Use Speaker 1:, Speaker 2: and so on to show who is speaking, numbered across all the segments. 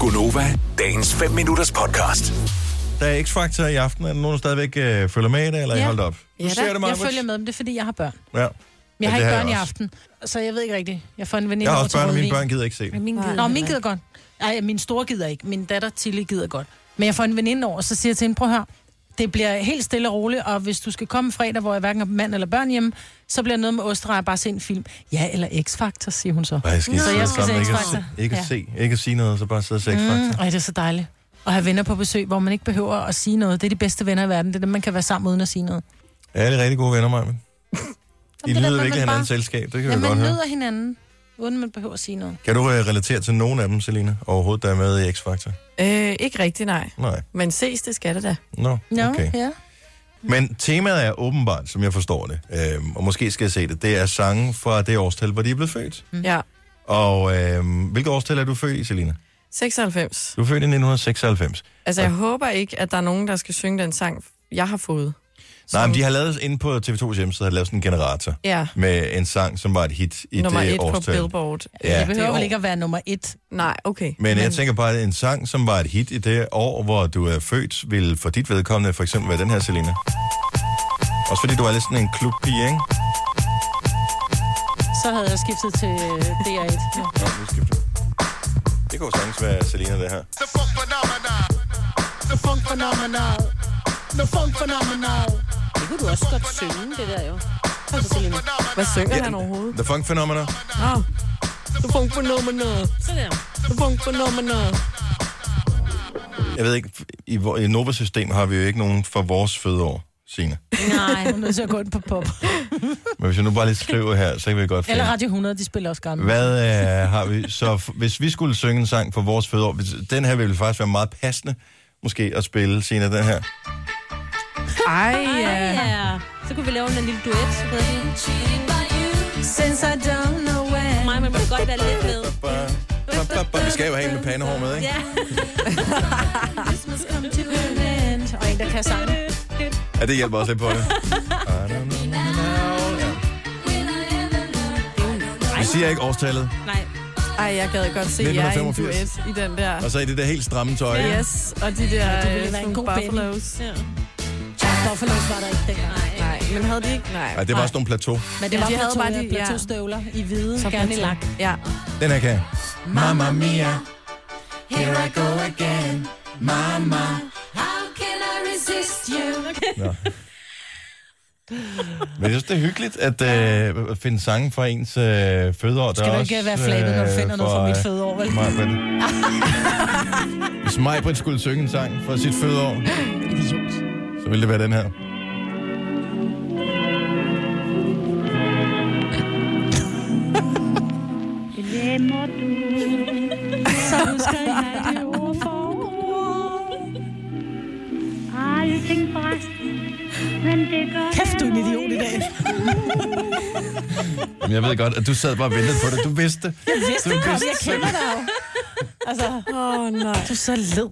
Speaker 1: Gunova, dagens 5 minutters podcast.
Speaker 2: Der er X-Factor i aften. Er der nogen, der stadigvæk øh, følger med i det, eller er I holdt op?
Speaker 3: Ja,
Speaker 2: Du ser
Speaker 3: da.
Speaker 2: det,
Speaker 3: jeg
Speaker 2: Marvitt?
Speaker 3: følger med dem, det er fordi, jeg har børn.
Speaker 2: Ja.
Speaker 3: Men jeg har
Speaker 2: det
Speaker 3: ikke
Speaker 2: har
Speaker 3: børn i
Speaker 2: jeg også.
Speaker 3: aften, så jeg ved ikke rigtigt. Jeg får en veninde
Speaker 2: Jeg har
Speaker 3: over
Speaker 2: også
Speaker 3: til
Speaker 2: børn, og mine
Speaker 3: rødvin.
Speaker 2: børn gider ikke se det.
Speaker 4: Min gider
Speaker 3: Nå, min gider godt. Nej, min store gider ikke. Min datter Tilly gider godt. Men jeg får en veninde over, og så siger jeg til hende, prøv at høre, det bliver helt stille og roligt, og hvis du skal komme fredag, hvor jeg hverken har mand eller børn hjemme, så bliver noget med osterej bare se en film. Ja, eller X-Factor, siger hun så.
Speaker 2: Nej, skal I
Speaker 3: Så
Speaker 2: sidde
Speaker 3: jeg skal
Speaker 2: sammen,
Speaker 3: se
Speaker 2: ikke, at
Speaker 3: X-Factor.
Speaker 2: se, ikke, at
Speaker 3: Ja. Mm.
Speaker 2: se, ikke at sige noget, så bare sidde og se X-Factor.
Speaker 3: Ej, det er så dejligt. At have venner på besøg, hvor man ikke behøver at sige noget. Det er de bedste venner i verden. Det er dem, man kan være sammen uden at sige noget.
Speaker 2: Ja, det er rigtig gode venner, mig. I
Speaker 3: det er derfor,
Speaker 2: lyder
Speaker 3: man
Speaker 2: virkelig hinandens
Speaker 3: bare-
Speaker 2: selskab, det kan
Speaker 3: Ja,
Speaker 2: jeg godt
Speaker 3: man
Speaker 2: høre.
Speaker 3: nyder hinanden, uden man behøver at sige noget.
Speaker 2: Kan du øh, relatere til nogen af dem, Selina, overhovedet, der er med i X-Factor?
Speaker 4: Øh, ikke rigtigt, nej.
Speaker 2: Nej.
Speaker 4: Men ses, det skal det da.
Speaker 2: Nå,
Speaker 3: Nå,
Speaker 2: okay.
Speaker 3: ja.
Speaker 2: Men temaet er åbenbart, som jeg forstår det, øhm, og måske skal jeg se det, det er sange fra det årstal, hvor de er blevet født.
Speaker 4: Mm. Ja.
Speaker 2: Og øhm, hvilket årstal er du født i, Selina?
Speaker 4: 96.
Speaker 2: Du er født i 1996.
Speaker 4: Altså, jeg håber ikke, at der er nogen, der skal synge den sang, jeg har fået.
Speaker 2: Nej, men de har lavet, inde på TV2's hjemmeside, har de lavet sådan en generator
Speaker 4: Ja,
Speaker 2: med en sang, som var et hit i
Speaker 4: nummer
Speaker 2: det
Speaker 4: et på
Speaker 2: årstal.
Speaker 4: Billboard.
Speaker 2: Ja.
Speaker 3: Det behøver
Speaker 4: år.
Speaker 3: vel ikke at være nummer et.
Speaker 4: Nej, okay.
Speaker 2: Men jeg tænker bare, at en sang, som var et hit i det år, hvor du er født, vil for dit vedkommende for eksempel være den her, Selina. Også fordi du er lidt sådan en klubpige, ikke?
Speaker 3: Så havde jeg skiftet til øh, DR1. Ja.
Speaker 2: Nå, nu skal vi... Det kunne jo sagtens være Selina, det her.
Speaker 5: The funk phenomenon. The funk phenomenon. The funk phenomenon.
Speaker 6: Det kunne du også godt synge, det der jo. Kom så, Selina.
Speaker 4: Hvad synger
Speaker 2: Ja.
Speaker 4: han overhovedet?
Speaker 2: The Funk Phenomena.
Speaker 4: Nå. Du funk på nummerne.
Speaker 6: Så der.
Speaker 4: Du funk på nummerne.
Speaker 2: Jeg ved ikke, i, vor- i Nova-system har vi jo ikke nogen fra vores fødeår, Signe.
Speaker 3: Nej, hun er nødt til at gå ind på pop.
Speaker 2: Men hvis jeg nu bare lige skriver her, så kan vi godt finde.
Speaker 3: Eller Radio 100, de spiller også gamle.
Speaker 2: Hvad øh, har vi? Så f- hvis vi skulle synge en sang for vores fødeår, hvis, den her ville faktisk være meget passende, måske at spille, Signe, den her.
Speaker 4: Ej,
Speaker 6: Ej,
Speaker 4: ja.
Speaker 6: ja. Så kunne vi lave en lille duet. så ved jeg ikke.
Speaker 3: Since I don't know when.
Speaker 6: Mig, man må godt være lidt med.
Speaker 2: Vi skal jo have en med pandehår med, ikke?
Speaker 6: Ja.
Speaker 3: Og en, der kan sange.
Speaker 2: Ja, det hjælper også lidt på det. Vi siger ikke årstallet,
Speaker 6: Nej.
Speaker 4: Ej, jeg gad godt se jer i en
Speaker 2: 1985.
Speaker 4: duet i den der.
Speaker 2: og så i det der helt stramme tøj. ikke?
Speaker 4: Yes, og de der
Speaker 3: du ville
Speaker 4: øh,
Speaker 3: være en
Speaker 4: sådan
Speaker 3: god
Speaker 4: buffalos.
Speaker 6: Ja.
Speaker 3: Buffalo var der ikke dengang.
Speaker 4: Nej, men havde de ikke? Nej.
Speaker 2: Ej, det var sådan nogle plateau.
Speaker 3: Men det
Speaker 4: Ja,
Speaker 3: var
Speaker 4: de havde
Speaker 3: plateau,
Speaker 4: bare de- ja.
Speaker 3: plateaustøvler i hvide, så gerne i lak.
Speaker 4: Ja.
Speaker 2: Den her kan jeg. Mamma mia.
Speaker 7: Here I go again, mama. How can I resist you?
Speaker 2: Men jeg synes, det er hyggeligt at øh, at finde sange fra ens øh, fødeår.
Speaker 3: Skal du ikke øh, være flabet, når du
Speaker 2: øh,
Speaker 3: finder noget fra mit fødeår, vel?
Speaker 2: fødeår? Hvis Majbrit skulle synge en sang fra sit fødeår,
Speaker 3: Idiot.
Speaker 2: så ville det være den her.
Speaker 3: Så husker jeg det ord for ord.
Speaker 8: Alting forresten, men det gør
Speaker 3: Kæft, du er en idiot i dag.
Speaker 2: Men jeg ved godt, at du sad bare og ventede på det. Du vidste. Jeg vidste, du vidste
Speaker 3: Jeg kender dig jo. Altså,
Speaker 4: Åh, oh, nej.
Speaker 3: du er så led.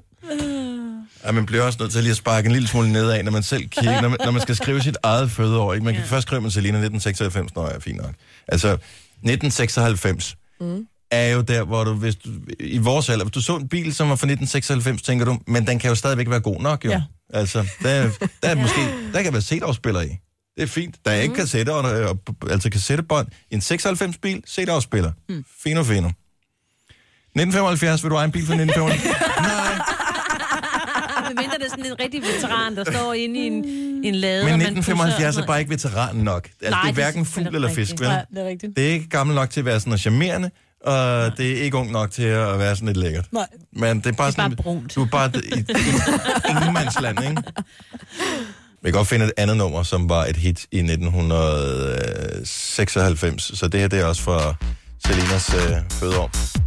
Speaker 2: Ja, man bliver også nødt til lige at sparke en lille smule nedad, når man selv kigger, når man, når man skal skrive sit eget fødeår. Ikke? Man kan ja. først skrive, man Selina 1996, når jeg er fint nok. Altså, 1996 mm. er jo der, hvor du, hvis du, i vores alder, hvis du så en bil, som var fra 1996, tænker du, men den kan jo stadigvæk være god nok, jo. Ja.
Speaker 3: Ja.
Speaker 2: Altså, der, der, er måske, der kan være CD-afspiller i. Det er fint. Der er ikke kassetter, og, og, altså kassettebånd. I en 96-bil, CD-afspiller. Mm. Fino, fino. 1975, vil du eje en bil fra 1975? Nej.
Speaker 6: Men mindre det er sådan en rigtig veteran, der står inde i en, en lade.
Speaker 2: Men
Speaker 6: og man pusser-
Speaker 2: 1975 er bare ikke veteran nok. Altså, Nej,
Speaker 6: Nej,
Speaker 2: det er
Speaker 6: det er
Speaker 2: hverken fugl
Speaker 6: selvfølgelig
Speaker 2: eller
Speaker 6: rigtigt.
Speaker 2: fisk, vel?
Speaker 3: Ja, det er rigtigt.
Speaker 2: Det er ikke gammel nok til at være sådan noget charmerende, og det er ikke ung nok til at være sådan lidt lækkert.
Speaker 3: Nej.
Speaker 2: Men det er bare, sådan,
Speaker 6: bare brunt.
Speaker 2: du er bare i, i, i ingenmandsland, ikke? Vi kan godt finde et andet nummer, som var et hit i 1996, så det her det er også fra Selinas øh, fødeår.
Speaker 4: Det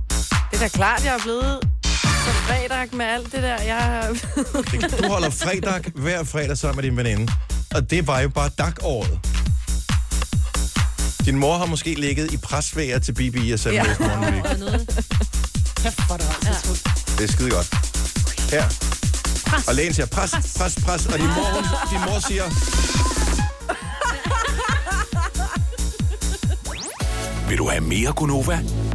Speaker 4: er da klart, jeg er blevet så fredag med alt det der. Jeg...
Speaker 2: Du holder fredag hver fredag sammen med din veninde. Og det var jo bare dag-året. Din mor har måske ligget i presvæger til BB og sendt ja.
Speaker 4: Ja.
Speaker 2: med morgenvæg.
Speaker 6: Og noget.
Speaker 3: Kæft, hvor er det rejsesfuldt.
Speaker 2: Det er skide godt. Her. Og lægen siger, pres, pres, pres. Og din mor, hun, din mor siger...
Speaker 1: Vil du have mere Gunova?